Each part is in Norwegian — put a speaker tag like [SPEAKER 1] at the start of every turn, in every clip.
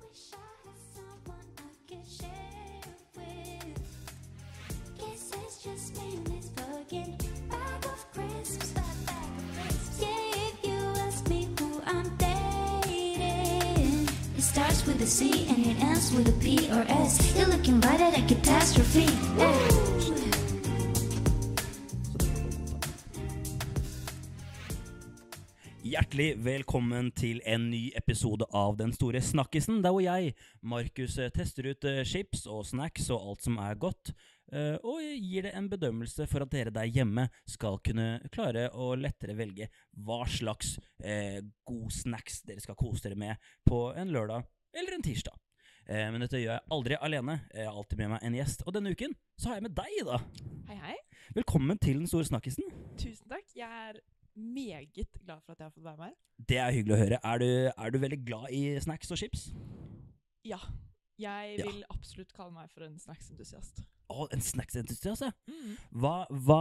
[SPEAKER 1] wish I had someone I could share it with. Kisses just made this forget. Bag of crisps, that bag of crisps. Yeah, if you ask me who I'm dating, it starts with a C and it ends with a P or S. You're looking right at a catastrophe. Ooh.
[SPEAKER 2] Hjertelig velkommen til en ny episode av Den store snakkisen, der hvor jeg, Markus, eh, tester ut eh, chips og snacks og alt som er godt, eh, og gir det en bedømmelse for at dere der hjemme skal kunne klare å lettere velge hva slags eh, god snacks dere skal kose dere med på en lørdag eller en tirsdag. Eh, men dette gjør jeg aldri alene. Jeg har alltid med meg en gjest, og denne uken så har jeg med deg, da.
[SPEAKER 3] Hei, hei.
[SPEAKER 2] Velkommen til Den store snakkisen.
[SPEAKER 3] Tusen takk. Jeg er meget glad for at jeg har fått være med her.
[SPEAKER 2] Det er hyggelig å høre. Er du, er du veldig glad i snacks og chips?
[SPEAKER 3] Ja. Jeg
[SPEAKER 2] Ja.
[SPEAKER 3] vil absolutt kalle meg for en snacksentusiast.
[SPEAKER 2] Å, en snacksentusiast, ja.
[SPEAKER 3] Mm.
[SPEAKER 2] Hva, hva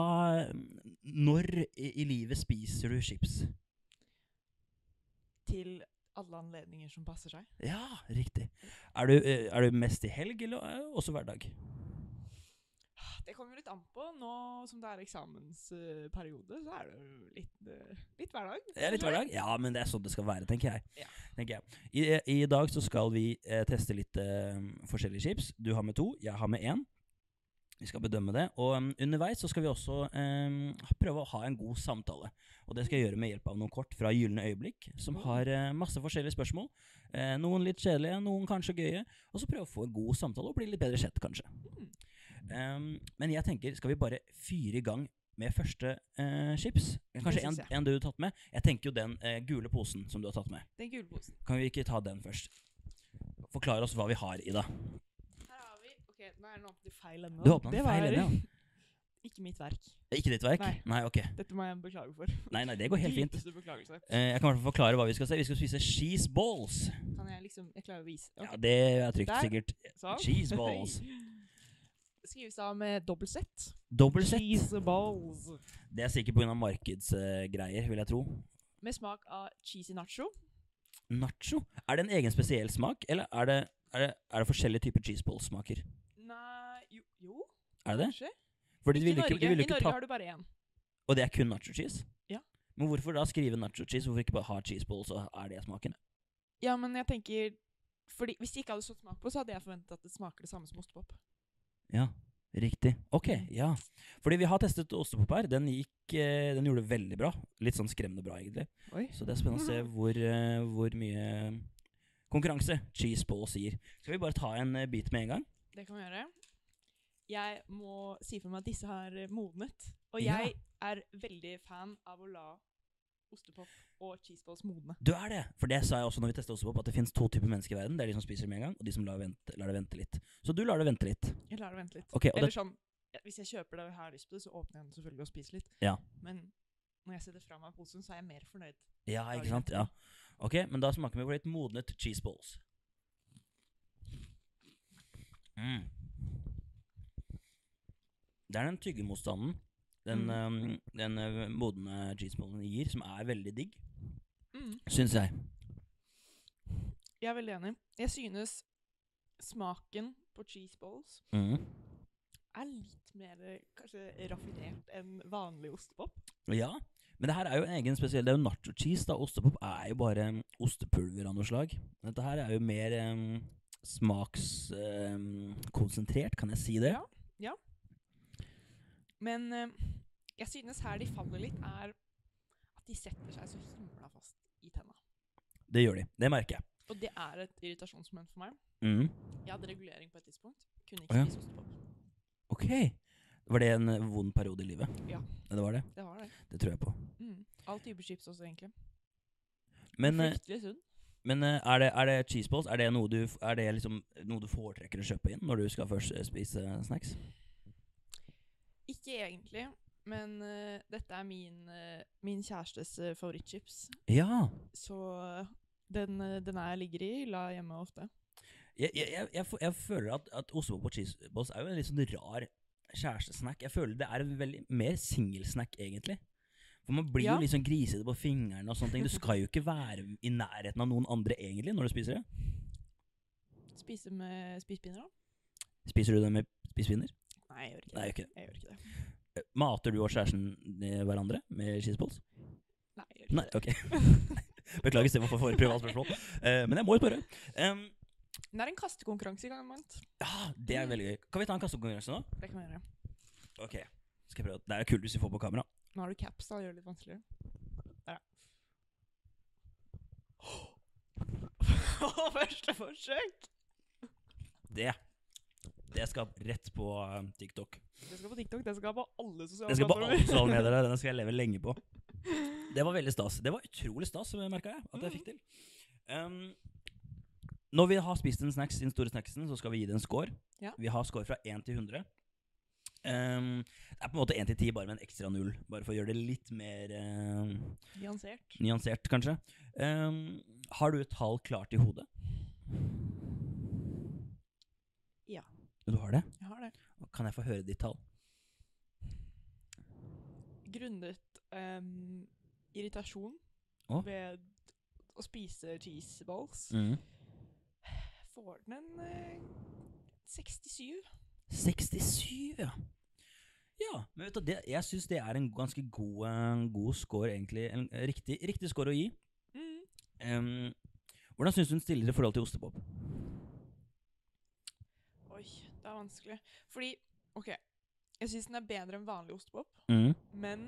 [SPEAKER 2] Når i, i livet spiser du chips?
[SPEAKER 3] Til alle anledninger som passer seg.
[SPEAKER 2] Ja, riktig. Er du, eh, er du mest i helg eller eh, også hverdag?
[SPEAKER 3] Det kommer litt an på. Nå som det er eksamensperiode, så er det jo litt, eh, litt hverdag.
[SPEAKER 2] Ja, litt hverdag? Ja, men det er sånn det skal være, tenker jeg.
[SPEAKER 3] Ja.
[SPEAKER 2] Tenker jeg. I, I dag så skal vi eh, teste litt eh, forskjellige chips. Du har med to, jeg har med én. Vi skal bedømme det. Og em, underveis så skal vi også em, prøve å ha en god samtale. Og det skal jeg gjøre med hjelp av noen kort fra Gylne øyeblikk, som har eh, masse forskjellige spørsmål. Eh, noen litt kjedelige, noen kanskje gøye. Og så prøve å få en god samtale og bli litt bedre kjent, kanskje. Em, men jeg tenker, skal vi bare fyre i gang med første eh, chips? Kanskje en,
[SPEAKER 3] synes jeg.
[SPEAKER 2] en du har tatt med? Jeg tenker jo den eh, gule posen som du har tatt med.
[SPEAKER 3] Den gule posen.
[SPEAKER 2] Kan vi ikke ta den først? Forklar oss hva vi har i det.
[SPEAKER 3] Her har vi Ok, nå er den åpnet i feil ende.
[SPEAKER 2] Du
[SPEAKER 3] da.
[SPEAKER 2] åpna
[SPEAKER 3] Det
[SPEAKER 2] den feil
[SPEAKER 3] var
[SPEAKER 2] ende. ja.
[SPEAKER 3] Ikke mitt verk.
[SPEAKER 2] Ikke ditt verk? Nei.
[SPEAKER 3] Nei.
[SPEAKER 2] ok.
[SPEAKER 3] Dette må jeg beklage for.
[SPEAKER 2] Nei, nei, det går helt fint.
[SPEAKER 3] Dypeste beklagelse.
[SPEAKER 2] Eh, jeg kan i hvert fall forklare hva vi skal se. Vi skal spise cheese balls.
[SPEAKER 3] Kan jeg liksom Jeg klarer å vise.
[SPEAKER 2] Ja,
[SPEAKER 3] Ok,
[SPEAKER 2] Det er trygt,
[SPEAKER 3] Der.
[SPEAKER 2] sikkert.
[SPEAKER 3] sånn.
[SPEAKER 2] Cheese balls.
[SPEAKER 3] Skrives av med dobbelt Z.
[SPEAKER 2] Dobbel sett.
[SPEAKER 3] Cheese balls.
[SPEAKER 2] Det er sikkert pga. markedsgreier, vil jeg tro.
[SPEAKER 3] Med smak av cheesy nacho.
[SPEAKER 2] Nacho? Er det en egen spesiell smak, eller er det, er det, er det forskjellige typer cheese balls-smaker?
[SPEAKER 3] Nei jo, jo
[SPEAKER 2] Er det det?
[SPEAKER 3] kanskje.
[SPEAKER 2] Fordi de
[SPEAKER 3] I
[SPEAKER 2] ville
[SPEAKER 3] Norge,
[SPEAKER 2] ikke, de ville
[SPEAKER 3] I
[SPEAKER 2] ikke
[SPEAKER 3] Norge
[SPEAKER 2] ta
[SPEAKER 3] har du bare én.
[SPEAKER 2] Og det er kun nacho cheese?
[SPEAKER 3] Ja.
[SPEAKER 2] Men hvorfor da skrive nacho cheese? Hvorfor ikke bare ha cheese balls, og er det smaken?
[SPEAKER 3] Ja, men jeg tenker fordi Hvis det ikke hadde stått smak på, så hadde jeg forventet at det smaker det samme som ostepop.
[SPEAKER 2] Ja, riktig. Ok,
[SPEAKER 3] Mm.
[SPEAKER 2] ja. Fordi vi har testet ostepop her. Den, gikk, eh, den gjorde det veldig bra. Litt sånn skremmende bra, egentlig.
[SPEAKER 3] Oi.
[SPEAKER 2] Så det er spennende å se hvor, eh, hvor mye konkurranse cheese balls gir. Skal vi bare ta en eh, bit med en gang?
[SPEAKER 3] Det kan vi gjøre. Jeg må si for meg at disse har eh, modnet. Og
[SPEAKER 2] Ja.
[SPEAKER 3] jeg er veldig fan av å la ostepop og cheeseballs modne.
[SPEAKER 2] Du er det! For det sa jeg også når vi testet ostepop, at det finnes to typer mennesker i verden. Det er de som spiser det med en gang, og de som lar, vente, lar det vente litt. Så du lar det vente litt.
[SPEAKER 3] Jeg lar det vente litt.
[SPEAKER 2] Ok, og
[SPEAKER 3] Eller
[SPEAKER 2] det,
[SPEAKER 3] sånn, ja, Hvis jeg kjøper det og har lyst på det, så åpner jeg den selvfølgelig og spiser litt.
[SPEAKER 2] Ja.
[SPEAKER 3] Men når jeg setter fra meg posen, så er jeg mer fornøyd.
[SPEAKER 2] ja, ikke sant? Ja. Ok, men da smaker vi på litt modnet cheese balls. Mm. Det er den tyggemotstanden den, eh, den eh, modne cheeseballen gir, som er veldig digg,
[SPEAKER 3] Mm.
[SPEAKER 2] syns jeg.
[SPEAKER 3] Jeg er veldig enig. Jeg synes smaken på cheese balls
[SPEAKER 2] Mm.
[SPEAKER 3] er litt mer eh, kanskje raffinert enn vanlig ostepop.
[SPEAKER 2] Ja, men det her er jo en egen spesiell Det er jo nacho cheese, da. Ostepop er jo bare mm, ostepulver av noe slag. Dette her er jo mer mm, smakskonsentrert, kan jeg si det?
[SPEAKER 3] Ja. Men eh, jeg synes her de faller litt, er at de setter seg så himla fast i tenna.
[SPEAKER 2] Det gjør de. Det merker jeg.
[SPEAKER 3] Og det er et irritasjonsmoment for meg.
[SPEAKER 2] Mm.
[SPEAKER 3] Jeg hadde regulering på et tidspunkt. Kunne
[SPEAKER 2] Å
[SPEAKER 3] ikke
[SPEAKER 2] ja.
[SPEAKER 3] spise ostepop.
[SPEAKER 2] Ok. Var det en eh, vond periode i livet?
[SPEAKER 3] Ja.
[SPEAKER 2] Det var det?
[SPEAKER 3] Det var det.
[SPEAKER 2] Det tror jeg på.
[SPEAKER 3] Mm. All type chips også, egentlig.
[SPEAKER 2] Men, eh,
[SPEAKER 3] Fryktelig sunn.
[SPEAKER 2] men eh, er, det, er det cheese balls? Er det, noe du, f- er det liksom noe du foretrekker å kjøpe inn når du skal først eh, spise snacks?
[SPEAKER 3] Ikke egentlig, men eh, dette er min, eh, min kjærestes eh, favorittchips.
[SPEAKER 2] Ja.
[SPEAKER 3] Så den, eh, den er ligger i hylla hjemme ofte.
[SPEAKER 2] Jeg, jeg, jeg, jeg, f- jeg føler at, at ostepop og cheeseballs er jo en litt sånn rar kjærestesnack. Jeg føler det er en veldig mer singelsnack, egentlig. For man blir
[SPEAKER 3] Ja.
[SPEAKER 2] jo litt sånn grisete på fingrene og sånne ting. Du skal jo ikke være i nærheten av noen andre, egentlig, når du spiser det.
[SPEAKER 3] Spise med spisepinner, da?
[SPEAKER 2] Spiser du det med spisepinner?
[SPEAKER 3] Nei, jeg gjør ikke
[SPEAKER 2] Nei, jeg gjør ikke det.
[SPEAKER 3] Jeg gjør ikke det.
[SPEAKER 2] Eh, Mater du og kjæresten eh, hverandre med cheeseballs?
[SPEAKER 3] Nei, jeg gjør ikke
[SPEAKER 2] Nei, ok. Beklager, Stefan, for for privat spørsmål. Eh, men jeg må jo spørre. Em,
[SPEAKER 3] det. Det er en kastekonkurranse i gang, Mant.
[SPEAKER 2] ja, det er veldig gøy. Kan vi ta en kastekonkurranse nå?
[SPEAKER 3] Det kan vi gjøre.
[SPEAKER 2] Ok. Skal jeg prøve. Det er kult hvis vi får på kamera.
[SPEAKER 3] Nå har du caps, da. Det gjør det litt vanskeligere. Der, ja. Første forsøk!
[SPEAKER 2] Det Det skal rett på eh, TikTok.
[SPEAKER 3] Det skal på TikTok, det skal på alle sosiale
[SPEAKER 2] Jeg skal på alle
[SPEAKER 3] plattformer.
[SPEAKER 2] sosiale medier. der, Den skal jeg leve lenge på. Det var veldig stas. Det var utrolig stas, merka jeg. At jeg
[SPEAKER 3] Mm.
[SPEAKER 2] fikk til. Em, når vi har spist en snacks, den store snacksen, så skal vi gi det en score.
[SPEAKER 3] Ja.
[SPEAKER 2] Vi har score fra 1 til 100. Em, det er på en måte 1 til 10, bare med en ekstra null. Bare for å gjøre det litt mer em,
[SPEAKER 3] Nyansert.
[SPEAKER 2] nyansert, kanskje. Em, har du et tall klart i hodet?
[SPEAKER 3] Ja.
[SPEAKER 2] Du har det?
[SPEAKER 3] Jeg har det.
[SPEAKER 2] Kan jeg få høre ditt tall?
[SPEAKER 3] Grunnet ehm, irritasjon
[SPEAKER 2] Å?
[SPEAKER 3] ved å spise cheeseballs, får den en eh, 67.
[SPEAKER 2] 67, ja. Ja, men vet du, det, jeg syns det er en ganske god, eh, god score, egentlig. En eh, riktig, riktig score å gi.
[SPEAKER 3] Mm.
[SPEAKER 2] Em, hvordan syns du hun stiller i forhold til ostepop?
[SPEAKER 3] Oi, det er vanskelig. Fordi, OK, jeg syns den er bedre enn vanlig ostepop, men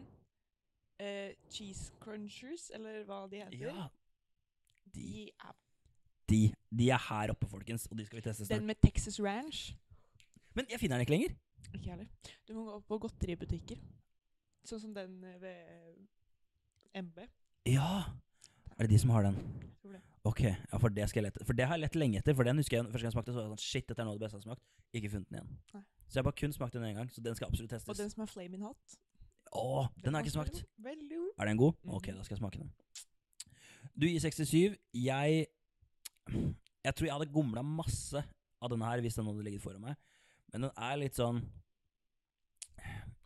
[SPEAKER 3] eh, cheese crunchers, eller hva de heter,
[SPEAKER 2] Ja. De,
[SPEAKER 3] de er
[SPEAKER 2] de, de er her oppe, folkens, og de skal vi teste snart.
[SPEAKER 3] Den med Texas Ranch
[SPEAKER 2] Men jeg finner den ikke lenger.
[SPEAKER 3] Ikke heller. Du må gå på godteributikker. Sånn som den eh, ved eh, MB.
[SPEAKER 2] Ja! Er det de som har den?
[SPEAKER 3] tror det.
[SPEAKER 2] Ok, ja, for det skal jeg lete For det har jeg lett lenge etter. For den husker jeg første gang jeg smakte, så var jeg sånn Shit, dette er noe av det beste jeg har smakt. Ikke funnet den igjen.
[SPEAKER 3] Nei.
[SPEAKER 2] Så jeg har bare kun smakt den én gang, så den skal absolutt
[SPEAKER 3] Og
[SPEAKER 2] testes.
[SPEAKER 3] den som er flaming hot.
[SPEAKER 2] Åh, den har jeg ikke
[SPEAKER 3] også
[SPEAKER 2] smakt.
[SPEAKER 3] veldig- Veldig god.
[SPEAKER 2] Er den god?
[SPEAKER 3] Mhm.
[SPEAKER 2] Ok, da skal jeg smake den. Du gir 67. Jeg Jeg tror jeg hadde gomla masse av denne her hvis den hadde ligget foran meg. Men den er litt sånn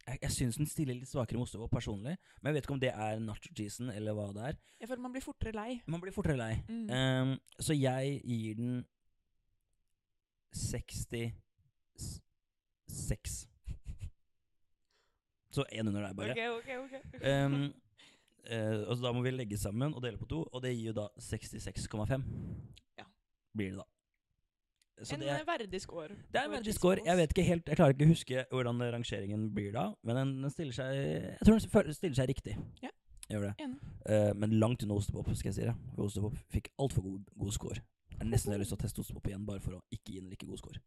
[SPEAKER 2] Jeg, jeg syns den stiller litt svakere med ostepop personlig. Men jeg vet ikke om det er nacho-cheesen eller hva det er.
[SPEAKER 3] Jeg føler man blir fortere lei.
[SPEAKER 2] Man blir fortere lei.
[SPEAKER 3] Mm.
[SPEAKER 2] Ehm, så jeg gir den 66. Så én under deg, bare.
[SPEAKER 3] Ok, ok, ok.
[SPEAKER 2] Ehm, eh, altså da må vi legge sammen og dele på to, og det gir jo da 66,5.
[SPEAKER 3] Ja.
[SPEAKER 2] Blir det da. Så
[SPEAKER 3] en
[SPEAKER 2] det,
[SPEAKER 3] eh,
[SPEAKER 2] er-
[SPEAKER 3] verdig score.
[SPEAKER 2] det er en
[SPEAKER 3] for
[SPEAKER 2] verdig
[SPEAKER 3] cheese
[SPEAKER 2] score. Jeg
[SPEAKER 3] balls.
[SPEAKER 2] vet ikke helt, jeg klarer ikke å huske hvordan rangeringen blir da, men den, den stiller seg Jeg tror den føl- stiller seg riktig.
[SPEAKER 3] Ja.
[SPEAKER 2] Gjør det.
[SPEAKER 3] Enig.
[SPEAKER 2] Eh, men langt unna ostepop, skal jeg si det. For ostepop fikk altfor god, god score. Jeg har nesten lyst til å teste ostepop igjen, bare for å ikke gi den like god score.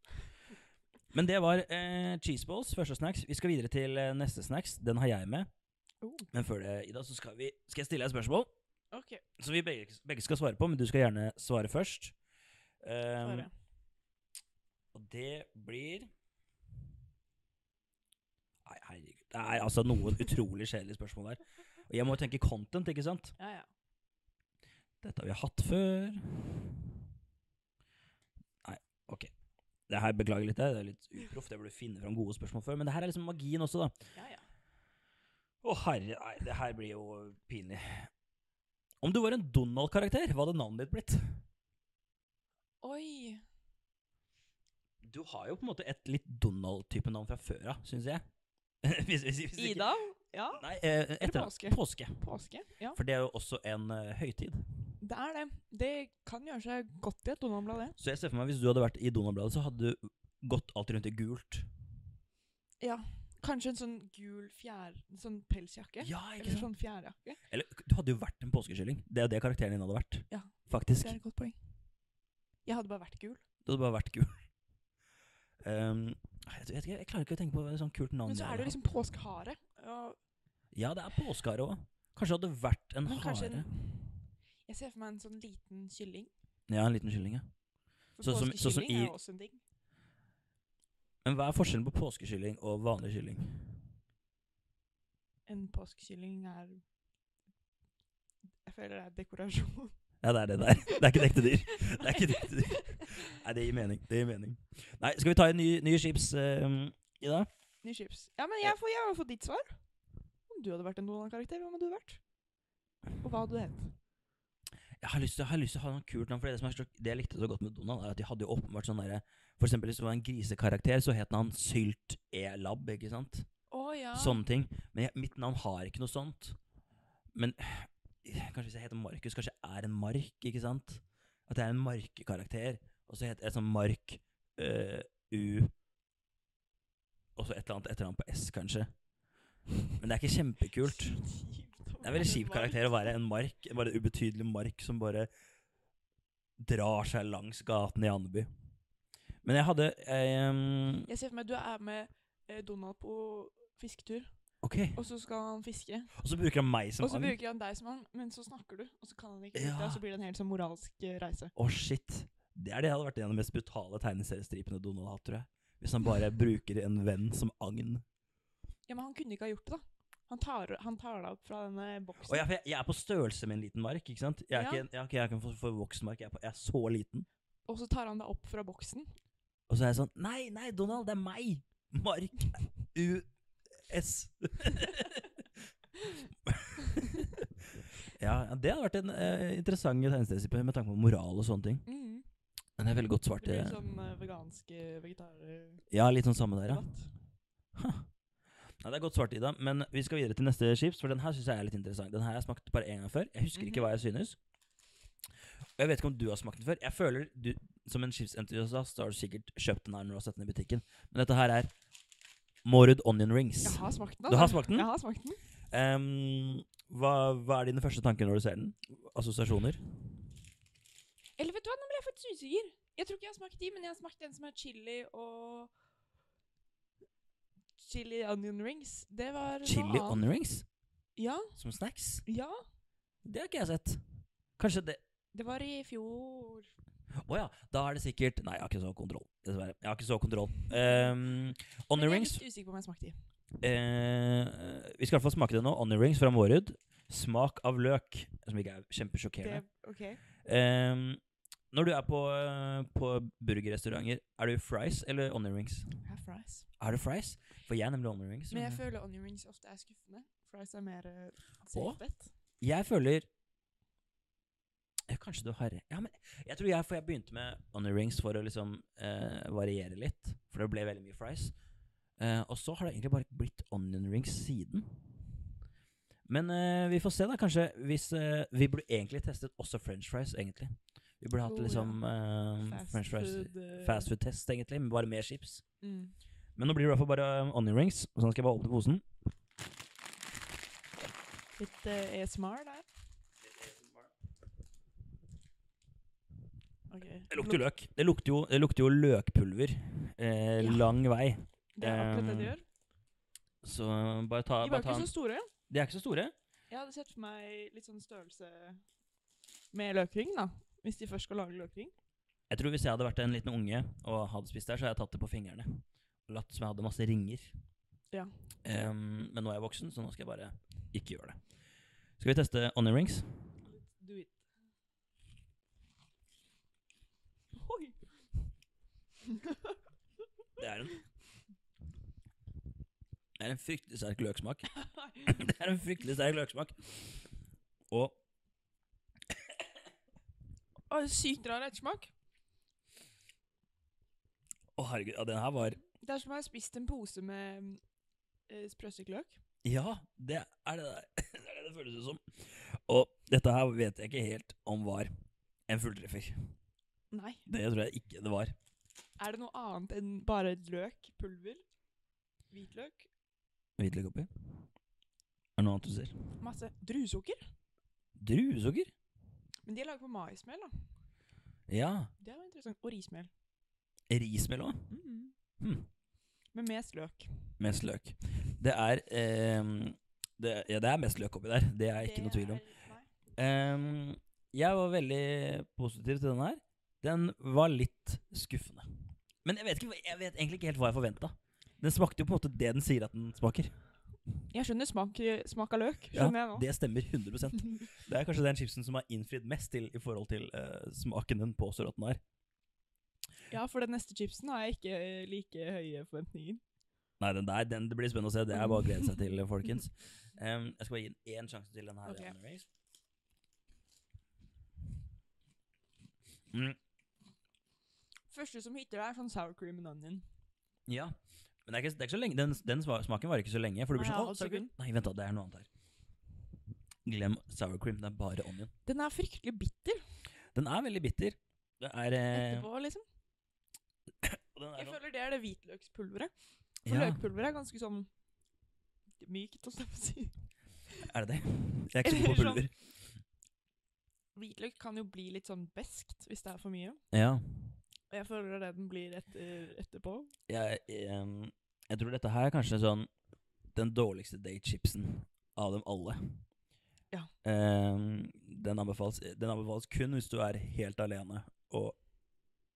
[SPEAKER 2] Men det var eh, cheeseballs, første snacks. Vi skal videre til eh, neste snacks. Den har jeg med.
[SPEAKER 3] Oh,
[SPEAKER 2] Men før det, Ida, så skal, vi, skal jeg stille deg et spørsmål
[SPEAKER 3] ok,
[SPEAKER 2] som vi begge, begge skal svare på, men du skal gjerne svare først. Ehm,
[SPEAKER 3] bare.
[SPEAKER 2] og det blir Nei, herregud. Det er altså noen utrolig kjedelige spørsmål der. Og jeg må jo tenke content, ikke sant?
[SPEAKER 3] Ja, ja.
[SPEAKER 2] Dette har vi hatt før. Nei, ok. Det her beklager litt, det er litt uproft. Jeg burde finne fram gode spørsmål før. Men det her er liksom magien også, da.
[SPEAKER 3] ja, ja.
[SPEAKER 2] Å herre, nei, det her blir jo pinlig. Om du var en Donald-karakter, hva hadde navnet ditt blitt?
[SPEAKER 3] Oi.
[SPEAKER 2] Du har jo på en måte et litt Donald-type navn fra før av, syns jeg. Hvis- hvis- hvis ikke-
[SPEAKER 3] Ida. Ja.
[SPEAKER 2] Nei, eh, etter
[SPEAKER 3] påske?
[SPEAKER 2] påske. påske.
[SPEAKER 3] Påske. Ja,
[SPEAKER 2] For det er jo også en eh, høytid.
[SPEAKER 3] det er det. Det kan gjøre seg godt i et Donald-blad, det.
[SPEAKER 2] Så jeg ser for meg hvis du hadde vært i Donald-bladet, så hadde du gått alt rundt i gult.
[SPEAKER 3] Kanskje en sånn gul fjær... Sånn pelsjakke.
[SPEAKER 2] Ja, ikke
[SPEAKER 3] Eller
[SPEAKER 2] sant?
[SPEAKER 3] sånn fjærjakke.
[SPEAKER 2] Eller du hadde jo vært en påskekylling. Det er jo det karakteren din hadde vært.
[SPEAKER 3] Ja.
[SPEAKER 2] Faktisk.
[SPEAKER 3] Det er et godt poeng. Jeg hadde bare vært gul.
[SPEAKER 2] Du hadde bare vært gul. Um, jeg, vet ikke, jeg klarer ikke å tenke på et sånt kult navn.
[SPEAKER 3] Men
[SPEAKER 2] jeg
[SPEAKER 3] så er
[SPEAKER 2] hadde
[SPEAKER 3] det jo liksom påskehare. og-
[SPEAKER 2] Sånn Ja, det er påskehare òg. Kanskje det hadde vært en
[SPEAKER 3] Men kanskje
[SPEAKER 2] hare.
[SPEAKER 3] en, jeg ser for meg en sånn liten kylling.
[SPEAKER 2] Ja, en liten kylling, ja.
[SPEAKER 3] For
[SPEAKER 2] Sånn som-
[SPEAKER 3] påskekylling
[SPEAKER 2] sånn som i-
[SPEAKER 3] er jo også en ting.
[SPEAKER 2] Men hva er forskjellen på påskekylling og vanlig kylling?
[SPEAKER 3] En påskekylling er Jeg føler det er dekorasjon.
[SPEAKER 2] Ja, det er det der. Det er ikke et ekte dyr. Det er ikke et ekte dyr. Nei, det gir mening. Det gir mening. Nei, skal vi ta en ny, ny chips, eh, Ida?
[SPEAKER 3] Ny chips. Ja, men jeg, får, jeg har fått ditt svar. Om du hadde vært en Donald-karakter, hvem hadde du vært? Og hva hadde du hett?
[SPEAKER 2] Jeg har lyst til, jeg har lyst til å ha noe kult navn, for det, som er så, det jeg likte så godt med Donald, er at de hadde jo åpenbart sånn derre For eksempel hvis det var en grisekarakter, så het han Sylt E-Lab, ikke sant?
[SPEAKER 3] Å ja.
[SPEAKER 2] Sånne ting. Men jeg, mitt navn har ikke noe sånt. Men eh, kanskje hvis jeg heter Markus, kanskje jeg er en mark, ikke sant? At jeg er en markekarakter. Og så heter jeg sånn Mark eh, U Og så et eller annet etternavn på S, kanskje. Men det er ikke kjempekult. Det er en veldig kjip karakter å være en mark. Bare en ubetydelig mark som bare drar seg langs gaten i Andeby. Men jeg hadde eh, um,
[SPEAKER 3] Jeg ser for meg du er med eh, Donald på fisketur,
[SPEAKER 2] Ok.
[SPEAKER 3] og så skal han fiske.
[SPEAKER 2] Og så bruker han meg som
[SPEAKER 3] Og så
[SPEAKER 2] agn.
[SPEAKER 3] bruker han deg som han, men så snakker du, og så kan han ikke
[SPEAKER 2] Ja.
[SPEAKER 3] det, og så blir det en helt sånn moralsk eh, reise.
[SPEAKER 2] Å, shit. Det er det hadde vært en av de mest brutale tegneseriestripene Donald har hatt, tror jeg. Hvis han bare bruker en venn som agn.
[SPEAKER 3] Ja, men han kunne ikke ha gjort det, da. Han tar, han tar deg opp fra denne boksen.
[SPEAKER 2] Og jeg, for jeg, jeg er på størrelse med en liten mark, ikke sant? Jeg er
[SPEAKER 3] Ja.
[SPEAKER 2] ikke, en- jeg er ikke, jeg er ikke en for, for voksen mark, jeg er, på, jeg er så liten.
[SPEAKER 3] Og så tar han deg opp fra boksen.
[SPEAKER 2] Og så er jeg sånn Nei, nei, Donald, det er meg! Mark U-S. ja, ja, det hadde vært en eh, interessant tegneseriestripe med tanke på moral og sånne ting.
[SPEAKER 3] Mm.
[SPEAKER 2] Men det er veldig godt
[SPEAKER 3] Det
[SPEAKER 2] svart.
[SPEAKER 3] blir
[SPEAKER 2] eh,
[SPEAKER 3] sånn eh, vegansk eh, vegetardebatt.
[SPEAKER 2] Ja, litt sånn samme der, ja. Ja, det er godt svart, Ida. Men vi skal videre til neste chips, for den her syns jeg er litt interessant. Den her har jeg smakt bare én gang før. Jeg husker
[SPEAKER 3] Mhm.
[SPEAKER 2] ikke hva jeg synes. Og jeg vet ikke om du har smakt den før. Jeg føler du, Som en chipsentusiast så har du sikkert kjøpt den her når du har sett den i butikken. Men dette her er Morud onion rings.
[SPEAKER 3] Jeg har smakt den. altså.
[SPEAKER 2] Du har smakt den?
[SPEAKER 3] Jeg har smakt den.
[SPEAKER 2] Ehm, hva, hva er dine første tanker når du ser den? Assosiasjoner?
[SPEAKER 3] Eller vet du hva, nå ble jeg faktisk usikker. Jeg tror ikke jeg har smakt de, men jeg har smakt en som er chili og Chili onion rings. Det var
[SPEAKER 2] Chili
[SPEAKER 3] noe annet.
[SPEAKER 2] onion rings
[SPEAKER 3] Ja,
[SPEAKER 2] som snacks?
[SPEAKER 3] ja.
[SPEAKER 2] Det har ikke jeg sett. Kanskje det
[SPEAKER 3] Det var i fjor.
[SPEAKER 2] Å ja, da er det sikkert Nei, jeg har ikke så kontroll, dessverre. Jeg har ikke så kontroll. Um, onion rings
[SPEAKER 3] Jeg er litt usikker på om jeg smakte de.
[SPEAKER 2] Eh, vi skal i hvert fall smake det nå. Onion rings fra Mårud. Smak av løk, som ikke er kjempesjokkerende.
[SPEAKER 3] ok.
[SPEAKER 2] Eh, når du er på, eh, på burgerrestauranter, er du fries eller onion rings?
[SPEAKER 3] Jeg har fries.
[SPEAKER 2] Er du fries? For jeg er nemlig onion rings.
[SPEAKER 3] Men jeg føler onion rings ofte er skuffende. Fries er mer eh, safe
[SPEAKER 2] Å?
[SPEAKER 3] bet.
[SPEAKER 2] Jeg føler ja, Kanskje du har ja, men Jeg tror jeg, for jeg begynte med onion rings for å liksom eh, variere litt. For det ble veldig mye fries. Eh, og så har det egentlig bare blitt onion rings siden. Men eh, vi får se, da. Kanskje hvis eh, Vi burde egentlig testet også french fries, egentlig. Vi burde hatt
[SPEAKER 3] Oh, ja.
[SPEAKER 2] liksom eh, french fries
[SPEAKER 3] eh,
[SPEAKER 2] fast food-test, egentlig, men bare med chips.
[SPEAKER 3] Mm.
[SPEAKER 2] Men nå blir det i hvert fall bare eh, onion rings. Og sånn skal jeg bare åpne posen.
[SPEAKER 3] Litt eh, ASMR der. Ok.
[SPEAKER 2] Det lukter jo løk. Det lukter jo, det lukter jo løkpulver eh,
[SPEAKER 3] Ja.
[SPEAKER 2] lang vei.
[SPEAKER 3] Det er akkurat det
[SPEAKER 2] Ehm,
[SPEAKER 3] de gjør.
[SPEAKER 2] Så bare ta, bare
[SPEAKER 3] De var
[SPEAKER 2] ta
[SPEAKER 3] ikke
[SPEAKER 2] en.
[SPEAKER 3] så store.
[SPEAKER 2] De er ikke så store.
[SPEAKER 3] Jeg hadde sett for meg litt sånn størrelse med løkring, da. Hvis de først skal lage løkring.
[SPEAKER 2] Jeg tror Hvis jeg hadde vært en liten unge og hadde spist der, så hadde jeg tatt det på fingrene. Og latt som jeg hadde masse ringer.
[SPEAKER 3] Ja.
[SPEAKER 2] Ehm, men nå er jeg voksen, så nå skal jeg bare ikke gjøre det. Skal vi teste onion rings?
[SPEAKER 3] Do it. Oi!
[SPEAKER 2] Det er en Det er en fryktelig sterk løksmak. Det er en fryktelig sterk løksmak. Og
[SPEAKER 3] Å, sykt rar ettersmak.
[SPEAKER 2] Å, herregud, ja, den her var
[SPEAKER 3] Det er som om jeg har spist en pose med mm, eh, sprøstekt løk.
[SPEAKER 2] Ja, det er det der. det er det det føles ut som. Og dette her vet jeg ikke helt om var en fulltreffer.
[SPEAKER 3] Nei.
[SPEAKER 2] Det tror jeg ikke det var.
[SPEAKER 3] Er det noe annet enn bare løk? Pulver? Hvitløk?
[SPEAKER 2] Hvitløk oppi. Er det noe annet du ser?
[SPEAKER 3] Masse druesukker?
[SPEAKER 2] Druesukker?
[SPEAKER 3] Men de er laget på maismel, da.
[SPEAKER 2] Ja.
[SPEAKER 3] Det er jo interessant. Og rismel.
[SPEAKER 2] Rismel òg.
[SPEAKER 3] Mm.
[SPEAKER 2] Hmm.
[SPEAKER 3] Med mest løk.
[SPEAKER 2] Mest løk. Det er ehm, det, Ja, det er mest løk oppi der. Det er jeg ikke noe tvil om. Ehm, jeg var veldig positiv til den her. Den var litt skuffende. Men jeg vet, ikke, hva- jeg vet egentlig ikke helt hva jeg forventa. Den smakte jo på en måte det den sier at den smaker.
[SPEAKER 3] Jeg skjønner smak, smak av løk.
[SPEAKER 2] Ja,
[SPEAKER 3] Skjønner jeg nå.
[SPEAKER 2] Det stemmer 100 Det er kanskje den chipsen som har innfridd mest til i forhold til eh, smaken den påstår at den har.
[SPEAKER 3] Ja, for den neste chipsen har jeg ikke eh, like høye forventninger.
[SPEAKER 2] Nei, den der den, det blir spennende å se. Det er bare å glede seg til, folkens. Em, jeg skal bare gi den én sjanse til den her.
[SPEAKER 3] Ok.
[SPEAKER 2] Anne Rings. Mm.
[SPEAKER 3] Første som hitter deg, er sånn sour cream and onion.
[SPEAKER 2] Ja. Men det er ikke, det er ikke så lenge. Den, den sva- smaken varer ikke så lenge. For du blir
[SPEAKER 3] Nei,
[SPEAKER 2] sånn,
[SPEAKER 3] halvt
[SPEAKER 2] «Å, sour cream».
[SPEAKER 3] sekund.
[SPEAKER 2] Nei, vent da, det er noe annet her. Glem sour cream, det er bare onion.
[SPEAKER 3] Den er fryktelig bitter
[SPEAKER 2] Den er veldig bitter. Det er, eh,
[SPEAKER 3] etterpå, liksom.
[SPEAKER 2] og den er
[SPEAKER 3] Jeg
[SPEAKER 2] sånn-
[SPEAKER 3] føler det er det hvitløkspulveret. For
[SPEAKER 2] ja,
[SPEAKER 3] løkpulver er ganske sånn mykt, holdt jeg på å si.
[SPEAKER 2] er det det? Jeg er ikke så god på
[SPEAKER 3] Eller sånn.
[SPEAKER 2] pulver.
[SPEAKER 3] Hvitløk kan jo bli litt sånn beskt hvis det er for mye.
[SPEAKER 2] Ja.
[SPEAKER 3] Og jeg føler det er det den blir etter, etterpå.
[SPEAKER 2] Jeg, em, jeg tror dette her er kanskje sånn den dårligste datechipsen av dem alle.
[SPEAKER 3] Ja.
[SPEAKER 2] Em, den, anbefales, den anbefales kun hvis du er helt alene og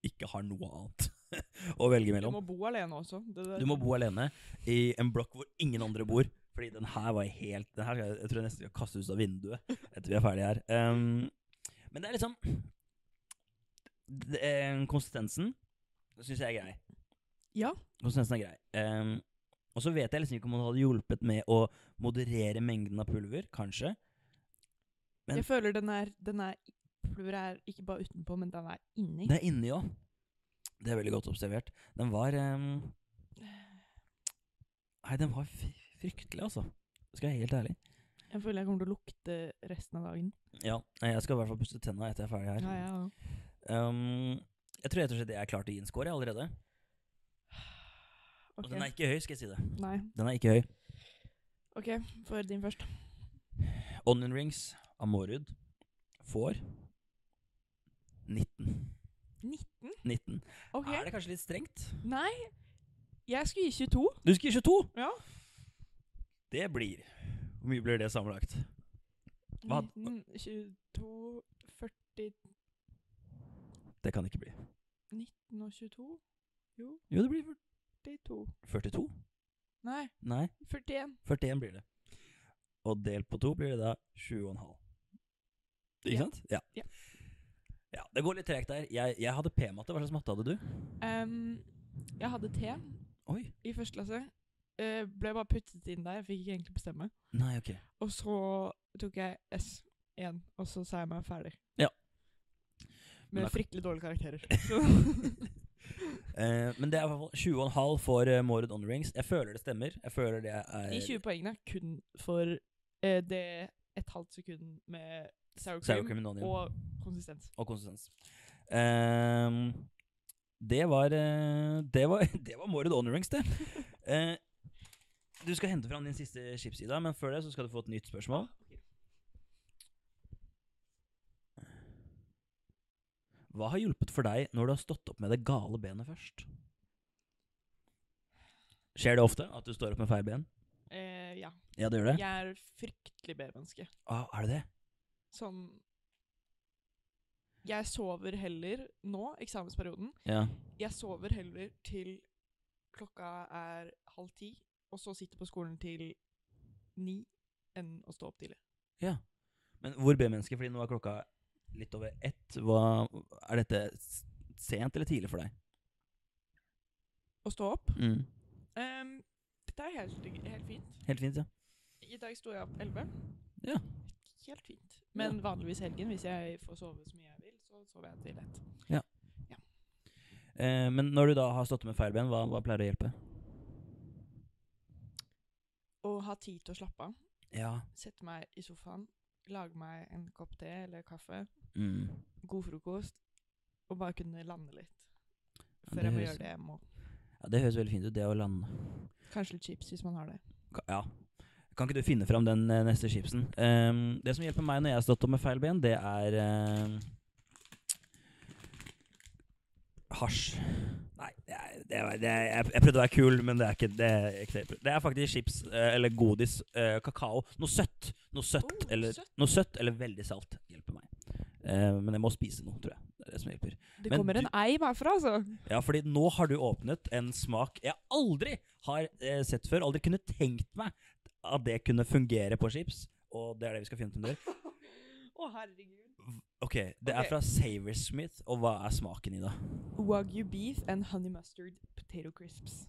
[SPEAKER 2] ikke har noe annet å velge
[SPEAKER 3] Du
[SPEAKER 2] mellom.
[SPEAKER 3] må bo alene også. Det der.
[SPEAKER 2] Du må bo alene i en blokk hvor ingen andre bor. Fordi den her var helt den her, skal jeg- Jeg tror jeg nesten skal kaste ut av vinduet etter vi er ferdige her. Ehm, men det er liksom det, eh, Konsistensen syns jeg er grei.
[SPEAKER 3] Ja.
[SPEAKER 2] Konsistensen er grei. Ehm, og så vet jeg liksom ikke om det hadde hjulpet med å moderere mengden av pulver, kanskje. men-
[SPEAKER 3] Jeg føler den er, den er Pulveret er ikke bare utenpå, men den er inni.
[SPEAKER 2] Det er inni òg. Det er veldig godt observert. Den var ehm, Nei, den var fr- fryktelig, altså. Skal jeg være helt ærlig.
[SPEAKER 3] Jeg føler jeg kommer til å lukte resten av dagen.
[SPEAKER 2] Ja, nei, jeg skal i hvert fall pusse tenna etter jeg er ferdig her.
[SPEAKER 3] Ja, ja, ja.
[SPEAKER 2] Um, jeg tror rett og slett jeg er klar til å gi en score jeg, allerede. Og
[SPEAKER 3] Ok.
[SPEAKER 2] den er ikke høy, skal jeg si det.
[SPEAKER 3] Nei.
[SPEAKER 2] Den er ikke høy.
[SPEAKER 3] OK, få høre din først.
[SPEAKER 2] Onion rings av Mårud får 19.
[SPEAKER 3] 19?
[SPEAKER 2] 19.
[SPEAKER 3] OK.
[SPEAKER 2] Er det kanskje litt strengt?
[SPEAKER 3] Nei, jeg skulle gi 22.
[SPEAKER 2] Du skal gi 22!
[SPEAKER 3] Ja.
[SPEAKER 2] Det blir Hvor mye blir det sammenlagt? Hva?
[SPEAKER 3] 19, 22, 40,
[SPEAKER 2] Det kan det ikke bli.
[SPEAKER 3] 19 og 22.
[SPEAKER 2] Jo, det blir
[SPEAKER 3] 42.
[SPEAKER 2] 42.
[SPEAKER 3] Nei,
[SPEAKER 2] Nei,
[SPEAKER 3] 41.
[SPEAKER 2] 41 blir det. Og delt på to blir det da 20,5. Ikke
[SPEAKER 3] Ja.
[SPEAKER 2] sant? Ja.
[SPEAKER 3] Ja.
[SPEAKER 2] Ja, Det går litt tregt der. Jeg, jeg hadde p-matte. Hva slags matte hadde du?
[SPEAKER 3] Em, jeg hadde T
[SPEAKER 2] Oi.
[SPEAKER 3] i første klasse. Eh, ble bare puttet inn der, jeg fikk ikke egentlig bestemme.
[SPEAKER 2] Nei, ok.
[SPEAKER 3] Og så tok jeg S1, og så sa jeg meg ferdig.
[SPEAKER 2] Ja. Men
[SPEAKER 3] Med
[SPEAKER 2] da-
[SPEAKER 3] fryktelig dårlige karakterer.
[SPEAKER 2] Eh, men det er i hvert fall 20,5 for uh, Mårud On Rings. Jeg føler det stemmer. Jeg føler det er
[SPEAKER 3] De 20 poengene er kun for eh, det et halvt sekund med sour
[SPEAKER 2] sour
[SPEAKER 3] cream
[SPEAKER 2] cream and onion og,
[SPEAKER 3] og konsistens.
[SPEAKER 2] konsistens. Ehm, det var eh, Det var, det var Mårud On Rings, det. Eh, du skal hente fram din siste chips, Ida, men før det så skal du få et nytt spørsmål. Hva har hjulpet for deg når du har stått opp med det gale benet først? Skjer det ofte at du står opp med feil ben?
[SPEAKER 3] Eh, ja.
[SPEAKER 2] Ja, det gjør det.
[SPEAKER 3] Jeg er fryktelig B-menneske.
[SPEAKER 2] Ah, er det det?
[SPEAKER 3] Sånn Jeg sover heller nå, eksamensperioden,
[SPEAKER 2] Ja.
[SPEAKER 3] jeg sover heller til klokka er halv ti, og så sitter på skolen til ni, enn å stå opp tidlig.
[SPEAKER 2] Men hvor B-menneske? Fordi nå er klokka litt over ett. Hva, er dette s- sent eller tidlig for deg?
[SPEAKER 3] Å stå opp?
[SPEAKER 2] Mm.
[SPEAKER 3] Ehm, dette er helt, helt fint.
[SPEAKER 2] Helt fint, ja.
[SPEAKER 3] I dag sto jeg opp elleve.
[SPEAKER 2] Ja.
[SPEAKER 3] Helt fint. Men vanligvis helgen, hvis jeg får sove så mye jeg vil, så sover jeg til ett.
[SPEAKER 2] Eh, men når du da har stått opp med feil ben, hva, hva pleier å hjelpe?
[SPEAKER 3] Og ha tid til å slappe av.
[SPEAKER 2] Ja.
[SPEAKER 3] Sette meg i sofaen, lage meg en kopp te eller kaffe,
[SPEAKER 2] Mm.
[SPEAKER 3] god frokost, og bare kunne lande litt.
[SPEAKER 2] Ja,
[SPEAKER 3] Før
[SPEAKER 2] det
[SPEAKER 3] jeg må
[SPEAKER 2] høres-
[SPEAKER 3] gjøre det jeg må.
[SPEAKER 2] ja. Det høres veldig fint ut, det å lande.
[SPEAKER 3] Kanskje litt chips hvis man har det.
[SPEAKER 2] Ka- Ja. Kan ikke du finne fram den eh, neste chipsen? Ehm, det som hjelper meg når jeg har stått opp med feil ben, det er ehm, Hasj. Nei, det er, det er, det er, jeg, jeg prøvde å være kul, men det er ikke det. Er ikke det. det er faktisk chips eh, eller godis, eh, kakao. Noe søtt. Noe søtt,
[SPEAKER 3] Oh,
[SPEAKER 2] eller,
[SPEAKER 3] søtt.
[SPEAKER 2] Noe søtt eller veldig salt hjelper meg. Eh, men jeg må spise noe, tror jeg. Det er det som hjelper.
[SPEAKER 3] Det
[SPEAKER 2] Men
[SPEAKER 3] kommer
[SPEAKER 2] du-
[SPEAKER 3] en eim herfra, altså.
[SPEAKER 2] Ja, fordi nå har du åpnet en smak jeg aldri har eh, sett før. Aldri kunne tenkt meg at det kunne fungere på chips. Og det er det vi skal finne ut om det.
[SPEAKER 3] Å, herregud.
[SPEAKER 2] Ok, det
[SPEAKER 3] Ok.
[SPEAKER 2] er fra Saversmith, og hva er smaken i det?
[SPEAKER 3] Wagyu beef and honey mustard potato crisps.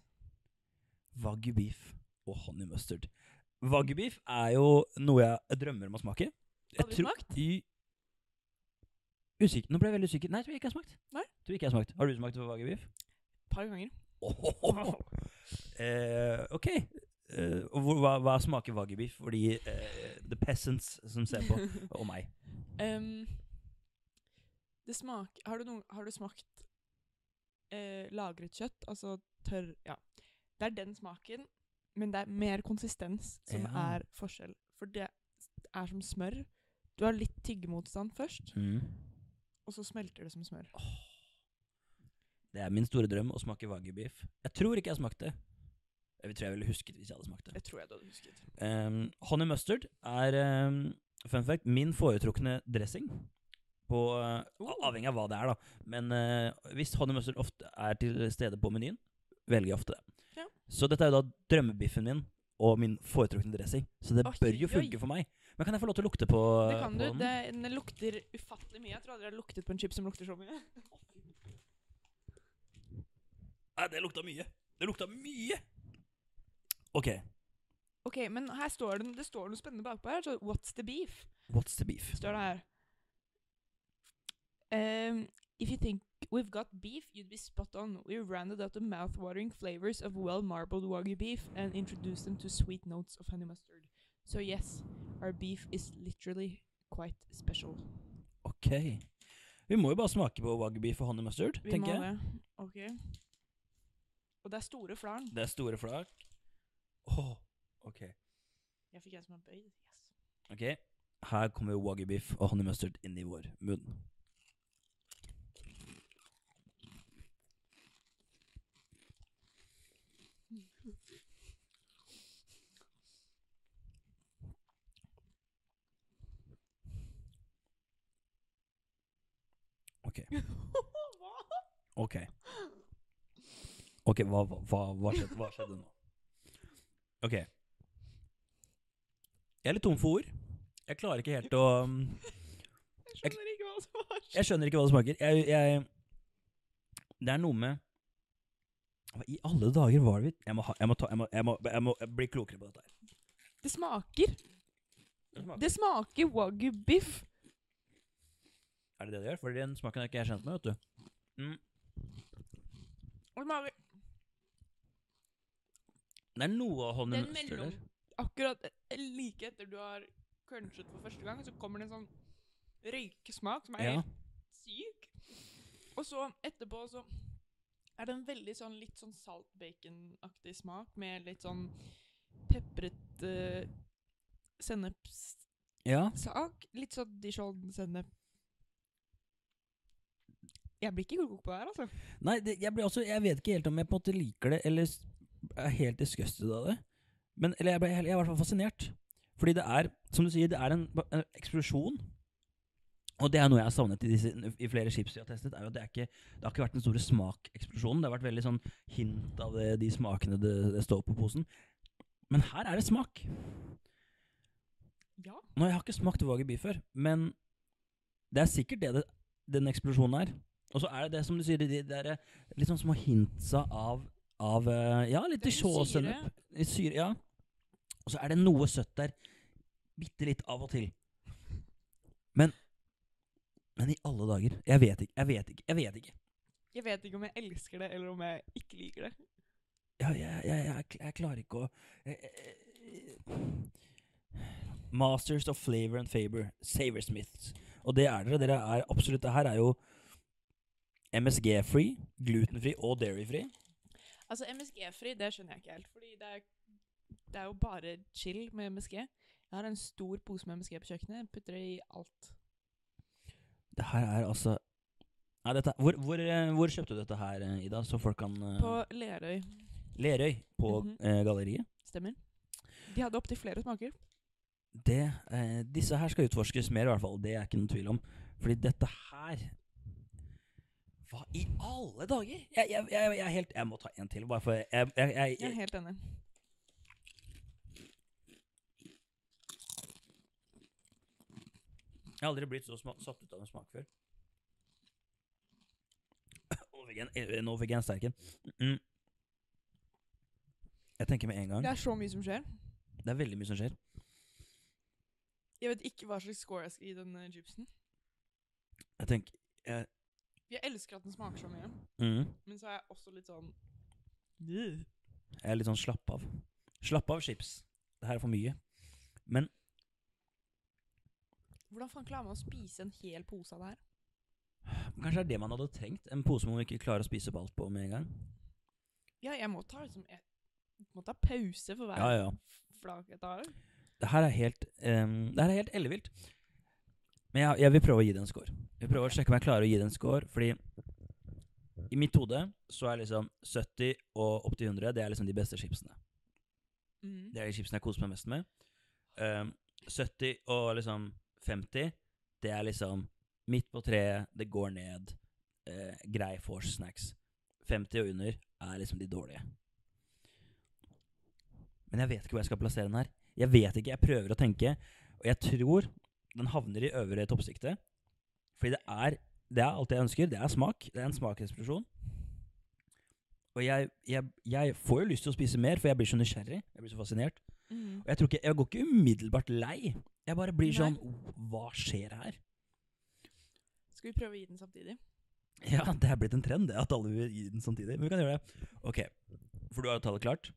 [SPEAKER 2] Wagyu beef og honey mustard. Wagyu beef er jo noe jeg drømmer om å smake. Jeg
[SPEAKER 3] Aldri
[SPEAKER 2] tror-
[SPEAKER 3] smakt?
[SPEAKER 2] I, Usikker. Nå ble jeg veldig usikker. Nei, jeg tror ikke jeg har smakt.
[SPEAKER 3] Nei.
[SPEAKER 2] Tror ikke jeg Har smakt. Har du smakt Vage Beef?
[SPEAKER 3] Et par ganger.
[SPEAKER 2] Ohohoho. Eh, ok. Eh, og hvor- hva, hva smaker vagebiff for de eh, the peasants som ser på, og meg?
[SPEAKER 3] Ehm, det smak, har, du noen, har du smakt eh, lagret kjøtt? Altså tørr Ja. Det er den smaken, men det er mer konsistens som
[SPEAKER 2] Ja.
[SPEAKER 3] er forskjell. For det er som smør. Du har litt tyggemotstand først, og så smelter det som smør.
[SPEAKER 2] Det er min store drøm å smake vagebiff. Jeg tror ikke jeg smakte. Jeg tror jeg ville husket hvis jeg hadde smakt det.
[SPEAKER 3] Det tror jeg du hadde husket.
[SPEAKER 2] Um, honey mustard er um, fun fact, min foretrukne dressing. På, uh, Avhengig av hva det er, da. Men uh, hvis honey mustard ofte er til stede på menyen, velger jeg ofte det.
[SPEAKER 3] Ja.
[SPEAKER 2] Så dette er jo da drømmebiffen min og min foretrukne dressing. Så det
[SPEAKER 3] Oi,
[SPEAKER 2] bør jo
[SPEAKER 3] oi.
[SPEAKER 2] funke for meg. Men kan jeg få lov til å lukte på eh,
[SPEAKER 3] Det kan
[SPEAKER 2] på
[SPEAKER 3] du.
[SPEAKER 2] den?
[SPEAKER 3] Det, den lukter ufattelig mye. Jeg tror aldri jeg har luktet på en chips som lukter så mye.
[SPEAKER 2] Nei, det lukta mye. Det lukta mye! OK.
[SPEAKER 3] Ok, men her står det, det står noe spennende bakpå her. Så what's the beef?
[SPEAKER 2] What's the beef?
[SPEAKER 3] står det her. Um, if you think we've got beef, you'd be spot on. We rounded out the mouth-watering flavors of well-marbled wagyu beef and introduced them to sweet notes of honey mustard. So yes, our beef is literally quite special.
[SPEAKER 2] OK. Vi må jo bare smake på wagyubeef og honey mustard,
[SPEAKER 3] Vi må
[SPEAKER 2] tenker jeg.
[SPEAKER 3] det. Ok. Og det er store flarn.
[SPEAKER 2] Det er store flak. Åh, ok.
[SPEAKER 3] Jeg fikk en som er bøyd. Yes.
[SPEAKER 2] Ok, her kommer wagyubiff og honey mustard inn i vår munn. Ok,
[SPEAKER 3] Hva?
[SPEAKER 2] ok. Ok, hva, hva, hva- hva, skjedde, hva skjedde nå? Ok. Jeg er litt tom for ord. Jeg klarer ikke helt å... um,
[SPEAKER 3] Jeg skjønner ikke hva som har skjedd.
[SPEAKER 2] Jeg skjønner ikke hva det smaker. Jeg, jeg, det er noe med Hva I alle dager var det vi Jeg må, ha, jeg må, ta, jeg må, jeg må, jeg må bli klokere på dette her.
[SPEAKER 3] Det smaker.
[SPEAKER 2] Den smaker-
[SPEAKER 3] Det smaker wagyu biff.
[SPEAKER 2] Er det det det gjør? For den smaken er ikke jeg kjent med, vet du.
[SPEAKER 3] Og det smaker
[SPEAKER 2] Det er noe av honning
[SPEAKER 3] Den mellom Akkurat eh, like etter du har crunchet for første gang, så kommer det en sånn røykesmak som er
[SPEAKER 2] Ja.
[SPEAKER 3] helt syk. Og så etterpå så er det en veldig sånn litt sånn saltbaconaktig smak med litt sånn pepret eh, sennepssak.
[SPEAKER 2] Ja.
[SPEAKER 3] Litt sånn Dijon-sennep. Jeg blir ikke god på det her, altså.
[SPEAKER 2] Nei, det, jeg, blir også, jeg vet ikke helt om jeg på en måte liker det, eller s- er helt disgusted av det. Men eller jeg, ble, jeg er i hvert fall fascinert. Fordi det er, som du sier, det er en, ba- en eksplosjon. Og det er noe jeg har savnet i, disse, i flere chips vi har testet. er jo at Det, er ikke, det har ikke vært den store smakeksplosjonen. Det har vært veldig sånn hint av det, de smakene det, det står på posen. Men her er det smak.
[SPEAKER 3] Ja.
[SPEAKER 2] Nå, Jeg har ikke smakt Wagaby før, men det er sikkert det, det den eksplosjonen er. Og så er det det som du sier, de der litt sånn små hintsa av, av eh, Ja, litt
[SPEAKER 3] Det er noe
[SPEAKER 2] dijon-sennep. Litt Syre. Ja. Og så er det noe søtt der. Bitte litt av og til. Men Men i alle dager. Jeg vet ikke. Jeg vet ikke. Jeg vet ikke.
[SPEAKER 3] Jeg vet ikke om jeg elsker det, eller om jeg ikke liker det.
[SPEAKER 2] Ja, jeg, jeg, jeg, kl- jeg klarer ikke å eh, jeg, jeg- Masters of flavor and favor. Saversmiths. Og det er dere. Dere er absolutt Det her er jo MSG-free, glutenfri og dairy-free.
[SPEAKER 3] Altså MSG-fri, det skjønner jeg ikke helt. Fordi det er, det er jo bare chill med MSG. Jeg har en stor pose med MSG på kjøkkenet. Jeg putter det i alt.
[SPEAKER 2] Det her er altså Nei, dette, hvor, hvor, eh, hvor kjøpte du dette her, eh, Ida? Så folk kan eh,
[SPEAKER 3] På Lerøy.
[SPEAKER 2] Lerøy, på
[SPEAKER 3] Mhm.
[SPEAKER 2] eh, galleriet.
[SPEAKER 3] Stemmer. De hadde opptil flere smaker.
[SPEAKER 2] det, eh, disse her skal utforskes mer, i hvert fall. Det er ikke noen tvil om. Fordi dette her Hva i alle dager?! Jeg, jeg, jeg, jeg er helt Jeg må ta en til, bare for jeg, jeg, jeg,
[SPEAKER 3] Jeg er
[SPEAKER 2] jeg
[SPEAKER 3] helt enig.
[SPEAKER 2] har aldri blitt så sma, satt ut av en smak før. Nå fikk jeg en- eh, Nå fikk jeg en sterk en. Mm. Jeg tenker med en gang.
[SPEAKER 3] Det er så mye som skjer.
[SPEAKER 2] Det er veldig mye som skjer.
[SPEAKER 3] eh, Jeg vet ikke hva slags score jeg skal gi denne chipsen.
[SPEAKER 2] Jeg tenker
[SPEAKER 3] Jeg elsker at den smaker så mye,
[SPEAKER 2] mm,
[SPEAKER 3] men så er jeg også litt sånn Ugh.
[SPEAKER 2] Jeg er litt sånn slapp av. Slapp av, chips. Det her er for mye. Men
[SPEAKER 3] Hvordan faen klarer man å spise en hel pose av det her?
[SPEAKER 2] kanskje det er det man hadde trengt? En pose man ikke klarer å spise opp alt på med en gang?
[SPEAKER 3] Ja, jeg må ta liksom Jeg må ta pause for hver
[SPEAKER 2] Ja, ja.
[SPEAKER 3] flak jeg tar.
[SPEAKER 2] Det her er helt um, Det her er helt ellevilt. Men jeg, jeg vil prøve å gi det en score. Jeg vil prøve å sjekke om jeg klarer å gi det en score, fordi i mitt hode så er liksom 70 og opp til 100 Det er liksom de beste chipsene.
[SPEAKER 3] Mm.
[SPEAKER 2] Det er de chipsene jeg koser meg mest med. Um, 70 og liksom 50, det er liksom midt på treet, det går ned. eh, grei force snacks. 50 og under er liksom de dårlige. Men jeg vet ikke hvor jeg skal plassere den her. Jeg vet ikke, jeg prøver å tenke. Og jeg tror den havner i øvre toppsiktet. Fordi det er, det er alt jeg ønsker. Det er smak. Det er en smakseksplosjon. Og jeg, jeg, jeg får jo lyst til å spise mer, for jeg blir så nysgjerrig. Jeg blir så fascinert.
[SPEAKER 3] Mm.
[SPEAKER 2] Og jeg, tror ikke, jeg går ikke umiddelbart lei. Jeg bare blir
[SPEAKER 3] Nei.
[SPEAKER 2] sånn Hva skjer her?
[SPEAKER 3] Skal vi prøve å gi den samtidig?
[SPEAKER 2] Ja, det er blitt en trend, det, at alle vil gi den samtidig. Men vi kan gjøre det. Ok, for du har tallet klart?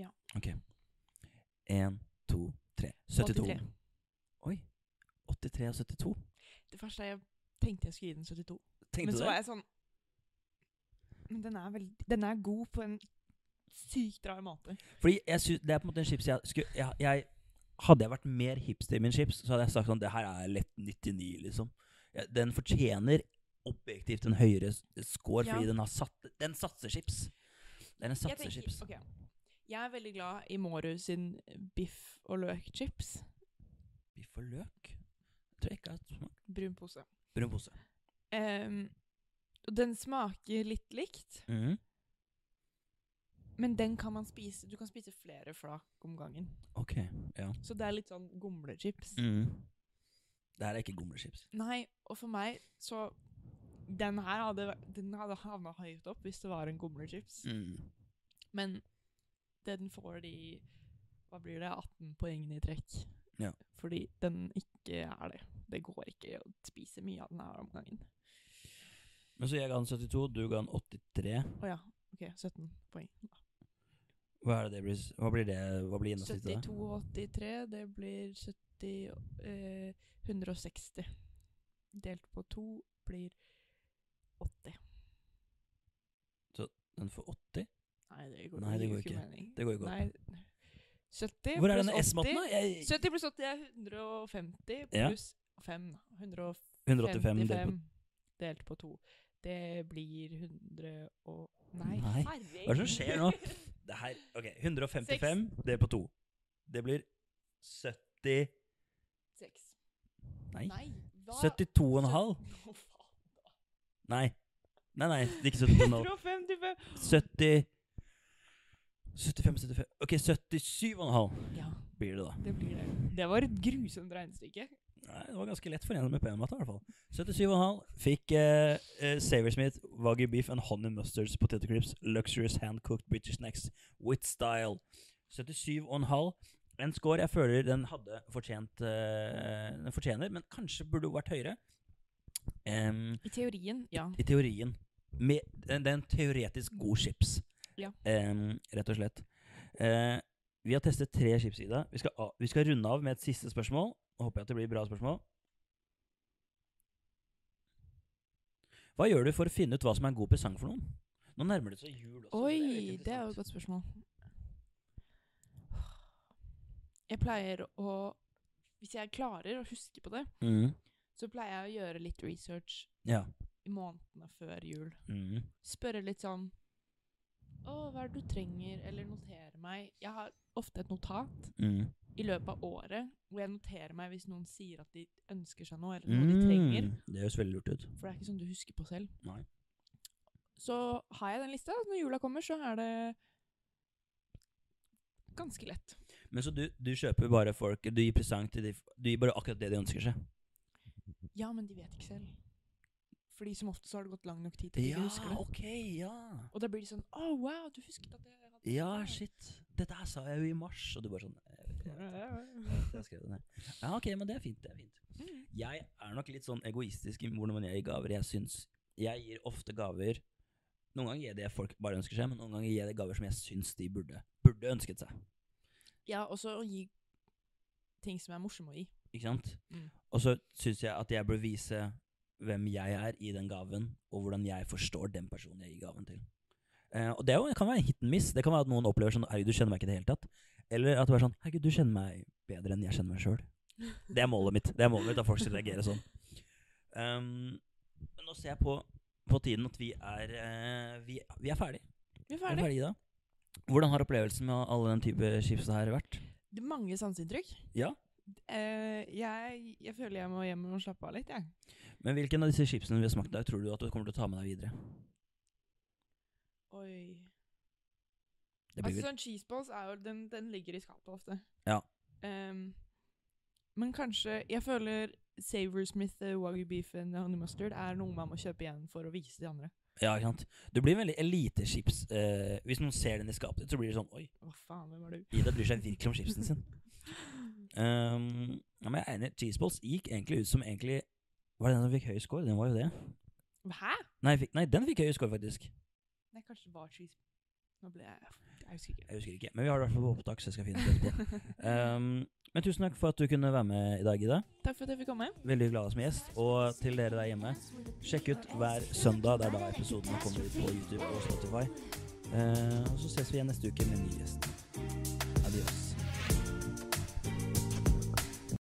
[SPEAKER 3] Ja.
[SPEAKER 2] Ok. Én, to, tre. 72.
[SPEAKER 3] 83.
[SPEAKER 2] Oi. 83 og 72.
[SPEAKER 3] Det første jeg tenkte jeg skulle gi den 72.
[SPEAKER 2] Tenkte
[SPEAKER 3] Men
[SPEAKER 2] du
[SPEAKER 3] så
[SPEAKER 2] det?
[SPEAKER 3] var jeg sånn Men den er, veldig, den er god på en sykt rar måte.
[SPEAKER 2] Fordi jeg sy det er på en måte en chips jeg, skulle, jeg, jeg Hadde jeg vært mer hipster i min chips, så hadde jeg sagt sånn Det her er lett 99, liksom. Ja, den fortjener objektivt en høyere s- score,
[SPEAKER 3] Ja.
[SPEAKER 2] fordi den har satt Den satser chips. Det er en
[SPEAKER 3] Jeg, tenker,
[SPEAKER 2] satsechips.
[SPEAKER 3] ok. jeg er veldig glad i Mårud sin biff- og løkchips.
[SPEAKER 2] Vi får løk. Jeg tror jeg ikke jeg har smakt
[SPEAKER 3] Brun pose.
[SPEAKER 2] brun pose.
[SPEAKER 3] Ehm, og den smaker litt likt,
[SPEAKER 2] Mhm.
[SPEAKER 3] men den kan man spise. Du kan spise flere flak om gangen.
[SPEAKER 2] Ok, ja.
[SPEAKER 3] Så det er litt sånn gomlechips.
[SPEAKER 2] Mm. Det her er ikke gomlechips.
[SPEAKER 3] Nei, og for meg så Den her hadde, væ- den hadde havna høyt opp hvis det var en gomlechips. Men den får de Hva blir det? 18 poengene i trekk.
[SPEAKER 2] Ja.
[SPEAKER 3] Fordi den ikke er det. Det går ikke å spise mye av den her om gangen.
[SPEAKER 2] Men så jeg ga den 72, du ga den 83.
[SPEAKER 3] Å ja. OK, 17 poeng.
[SPEAKER 2] Hva, er det det blir, s- hva blir det? Hva blir gjennomsnittet?
[SPEAKER 3] 72,83, det blir 70 eh, 160. Delt på to blir 80.
[SPEAKER 2] Den får 80?
[SPEAKER 3] Nei, det går,
[SPEAKER 2] Nei, det går
[SPEAKER 3] gir
[SPEAKER 2] ikke.
[SPEAKER 3] mening.
[SPEAKER 2] Det går jo godt.
[SPEAKER 3] Nei. 70
[SPEAKER 2] Hvor er
[SPEAKER 3] pluss
[SPEAKER 2] denne
[SPEAKER 3] 80?
[SPEAKER 2] S-matten, da? Jeg-
[SPEAKER 3] 70 pluss 80 er 150
[SPEAKER 2] Ja.
[SPEAKER 3] pluss 5. 155
[SPEAKER 2] 185 delt på
[SPEAKER 3] delt på 2. Det blir 100 og Nei,
[SPEAKER 2] Nei.
[SPEAKER 3] herregud.
[SPEAKER 2] Hva er det som skjer nå? Det her, ok, 155 delt på 2. Det blir 70
[SPEAKER 3] Seks.
[SPEAKER 2] Nei.
[SPEAKER 3] Nei, hva?
[SPEAKER 2] 72,5?
[SPEAKER 3] Å, faen.
[SPEAKER 2] Nei. Nei, nei, det er ikke 72,5.
[SPEAKER 3] 155.
[SPEAKER 2] 70 75, 75 Ok, 77,5
[SPEAKER 3] Ja,
[SPEAKER 2] blir det, da.
[SPEAKER 3] det blir det. Det var et grusomt regnestykke.
[SPEAKER 2] Nei, det var ganske lett for en med PM-matte, i hvert fall. 77,5 fikk eh, eh, Saversmith, Wagyu beef and honey mustards potato crisps, luxurious hand-cooked British snacks with style. 77,5. En score jeg føler den hadde fortjent eh, Den fortjener, men kanskje burde vært høyere. Em,
[SPEAKER 3] I teorien, ja.
[SPEAKER 2] I teorien. Med, eh, den, den teoretisk god chips,
[SPEAKER 3] Ja.
[SPEAKER 2] Em, rett og slett. Eh, vi har testet tre chips, Ida. Vi skal, av- vi skal runde av med et siste spørsmål. Nå håper jeg at det blir bra spørsmål. Hva gjør du for å finne ut hva som er en god presang for noen? Nå nærmer det seg jul også. så det er
[SPEAKER 3] Oi,
[SPEAKER 2] litt
[SPEAKER 3] det er jo
[SPEAKER 2] interessant.
[SPEAKER 3] et godt spørsmål. Jeg pleier å Hvis jeg klarer å huske på det,
[SPEAKER 2] Mhm.
[SPEAKER 3] så pleier jeg å gjøre litt research
[SPEAKER 2] Ja.
[SPEAKER 3] i månedene før jul.
[SPEAKER 2] Mhm.
[SPEAKER 3] Spørre litt sånn Å, hva er det du trenger? Eller notere meg. Jeg har ofte et notat
[SPEAKER 2] Mhm.
[SPEAKER 3] i løpet av året hvor jeg noterer meg hvis noen sier at de ønsker seg noe, eller noe de trenger.
[SPEAKER 2] Mm. Det høres veldig lurt ut.
[SPEAKER 3] For det er ikke sånn du husker på selv.
[SPEAKER 2] Nei.
[SPEAKER 3] Så har jeg den lista. Når jula kommer, så er det ganske lett.
[SPEAKER 2] Men så du, du kjøper bare folk Du gir presang til de Du gir bare akkurat det de ønsker seg.
[SPEAKER 3] Ja, men de vet ikke selv. Fordi som ofte så har det gått lang nok tid til at de
[SPEAKER 2] Ja,
[SPEAKER 3] husker det.
[SPEAKER 2] ok, ja.
[SPEAKER 3] Og da blir de sånn Å, wow, du husket at jeg hadde
[SPEAKER 2] Ja,
[SPEAKER 3] det her».
[SPEAKER 2] shit. Dette her sa jeg jo i mars, og du bare sånn jeg vet Jeg har skrevet det. Ja, ok, men det er fint. det er fint. Jeg er nok litt sånn egoistisk i hvordan jeg gir gaver. Jeg synes, jeg gir ofte gaver Noen ganger gir jeg det folk bare ønsker seg, men noen ganger gir jeg det gaver som jeg syns de burde, burde ønsket seg.
[SPEAKER 3] Ja, og så å gi ting som er morsomme å gi.
[SPEAKER 2] Ikke sant?
[SPEAKER 3] Mm.
[SPEAKER 2] Og så syns jeg at jeg bør vise hvem jeg er i den gaven, og hvordan jeg forstår den personen jeg gir gaven til. Eh, og det, er jo, det kan være en hit and miss. Det kan være at noen opplever sånn Herregud, du kjenner meg ikke i det hele tatt. Eller at det er sånn Herregud, du kjenner meg bedre enn jeg kjenner meg sjøl. Det er målet mitt. Det er målet mitt at folk skal reagere sånn. Um, men nå ser jeg på, på tiden at vi er, eh, vi, vi er ferdig.
[SPEAKER 3] Vi er
[SPEAKER 2] Vi er
[SPEAKER 3] ferdig.
[SPEAKER 2] ferdig i dag. Hvordan har opplevelsen med alle den type chips her vært?
[SPEAKER 3] Det er mange sanseinntrykk.
[SPEAKER 2] Ja.
[SPEAKER 3] Eh, jeg, jeg føler jeg må hjem og slappe av litt, jeg.
[SPEAKER 2] Men hvilken av disse chipsene vi har smakt i dag, tror du at du kommer til å ta med deg videre?
[SPEAKER 3] Oi.
[SPEAKER 2] Det blir
[SPEAKER 3] Altså
[SPEAKER 2] vel
[SPEAKER 3] sånn cheeseballs er jo Den, den ligger i skapet ofte.
[SPEAKER 2] Ja.
[SPEAKER 3] Ehm, men kanskje Jeg føler Savorsmith eh, Wagyu beef and honey mustard er noe man må kjøpe igjen for å vise de andre.
[SPEAKER 2] Ja, ikke sant. Du blir veldig elitechips. Eh, hvis noen ser den i skapet ditt, så blir det sånn Oi,
[SPEAKER 3] Hva faen, hvem er du?
[SPEAKER 2] Ida bryr seg virkelig om chipsen sin. Um, ja, men jeg er enig. Cheeseballs gikk egentlig ut som egentlig Var det den som fikk høy score? Den var jo det.
[SPEAKER 3] Hæ?
[SPEAKER 2] Nei, fikk, nei den fikk høy score, faktisk.
[SPEAKER 3] Nei, kanskje det var cheese... Nå ble jeg Jeg husker ikke.
[SPEAKER 2] Jeg husker ikke. Men vi har det i hvert fall på opptak, så jeg skal finne det etterpå. Um, men tusen takk for at du kunne være med i dag, Ida.
[SPEAKER 3] Takk for at jeg fikk komme.
[SPEAKER 2] Veldig glad som gjest. Og til dere der hjemme, sjekk ut hver søndag. Det er da episodene kommer ut på Ehm, YouTube og Spotify. Eh, og så ses vi igjen neste uke med en ny gjest. Adios.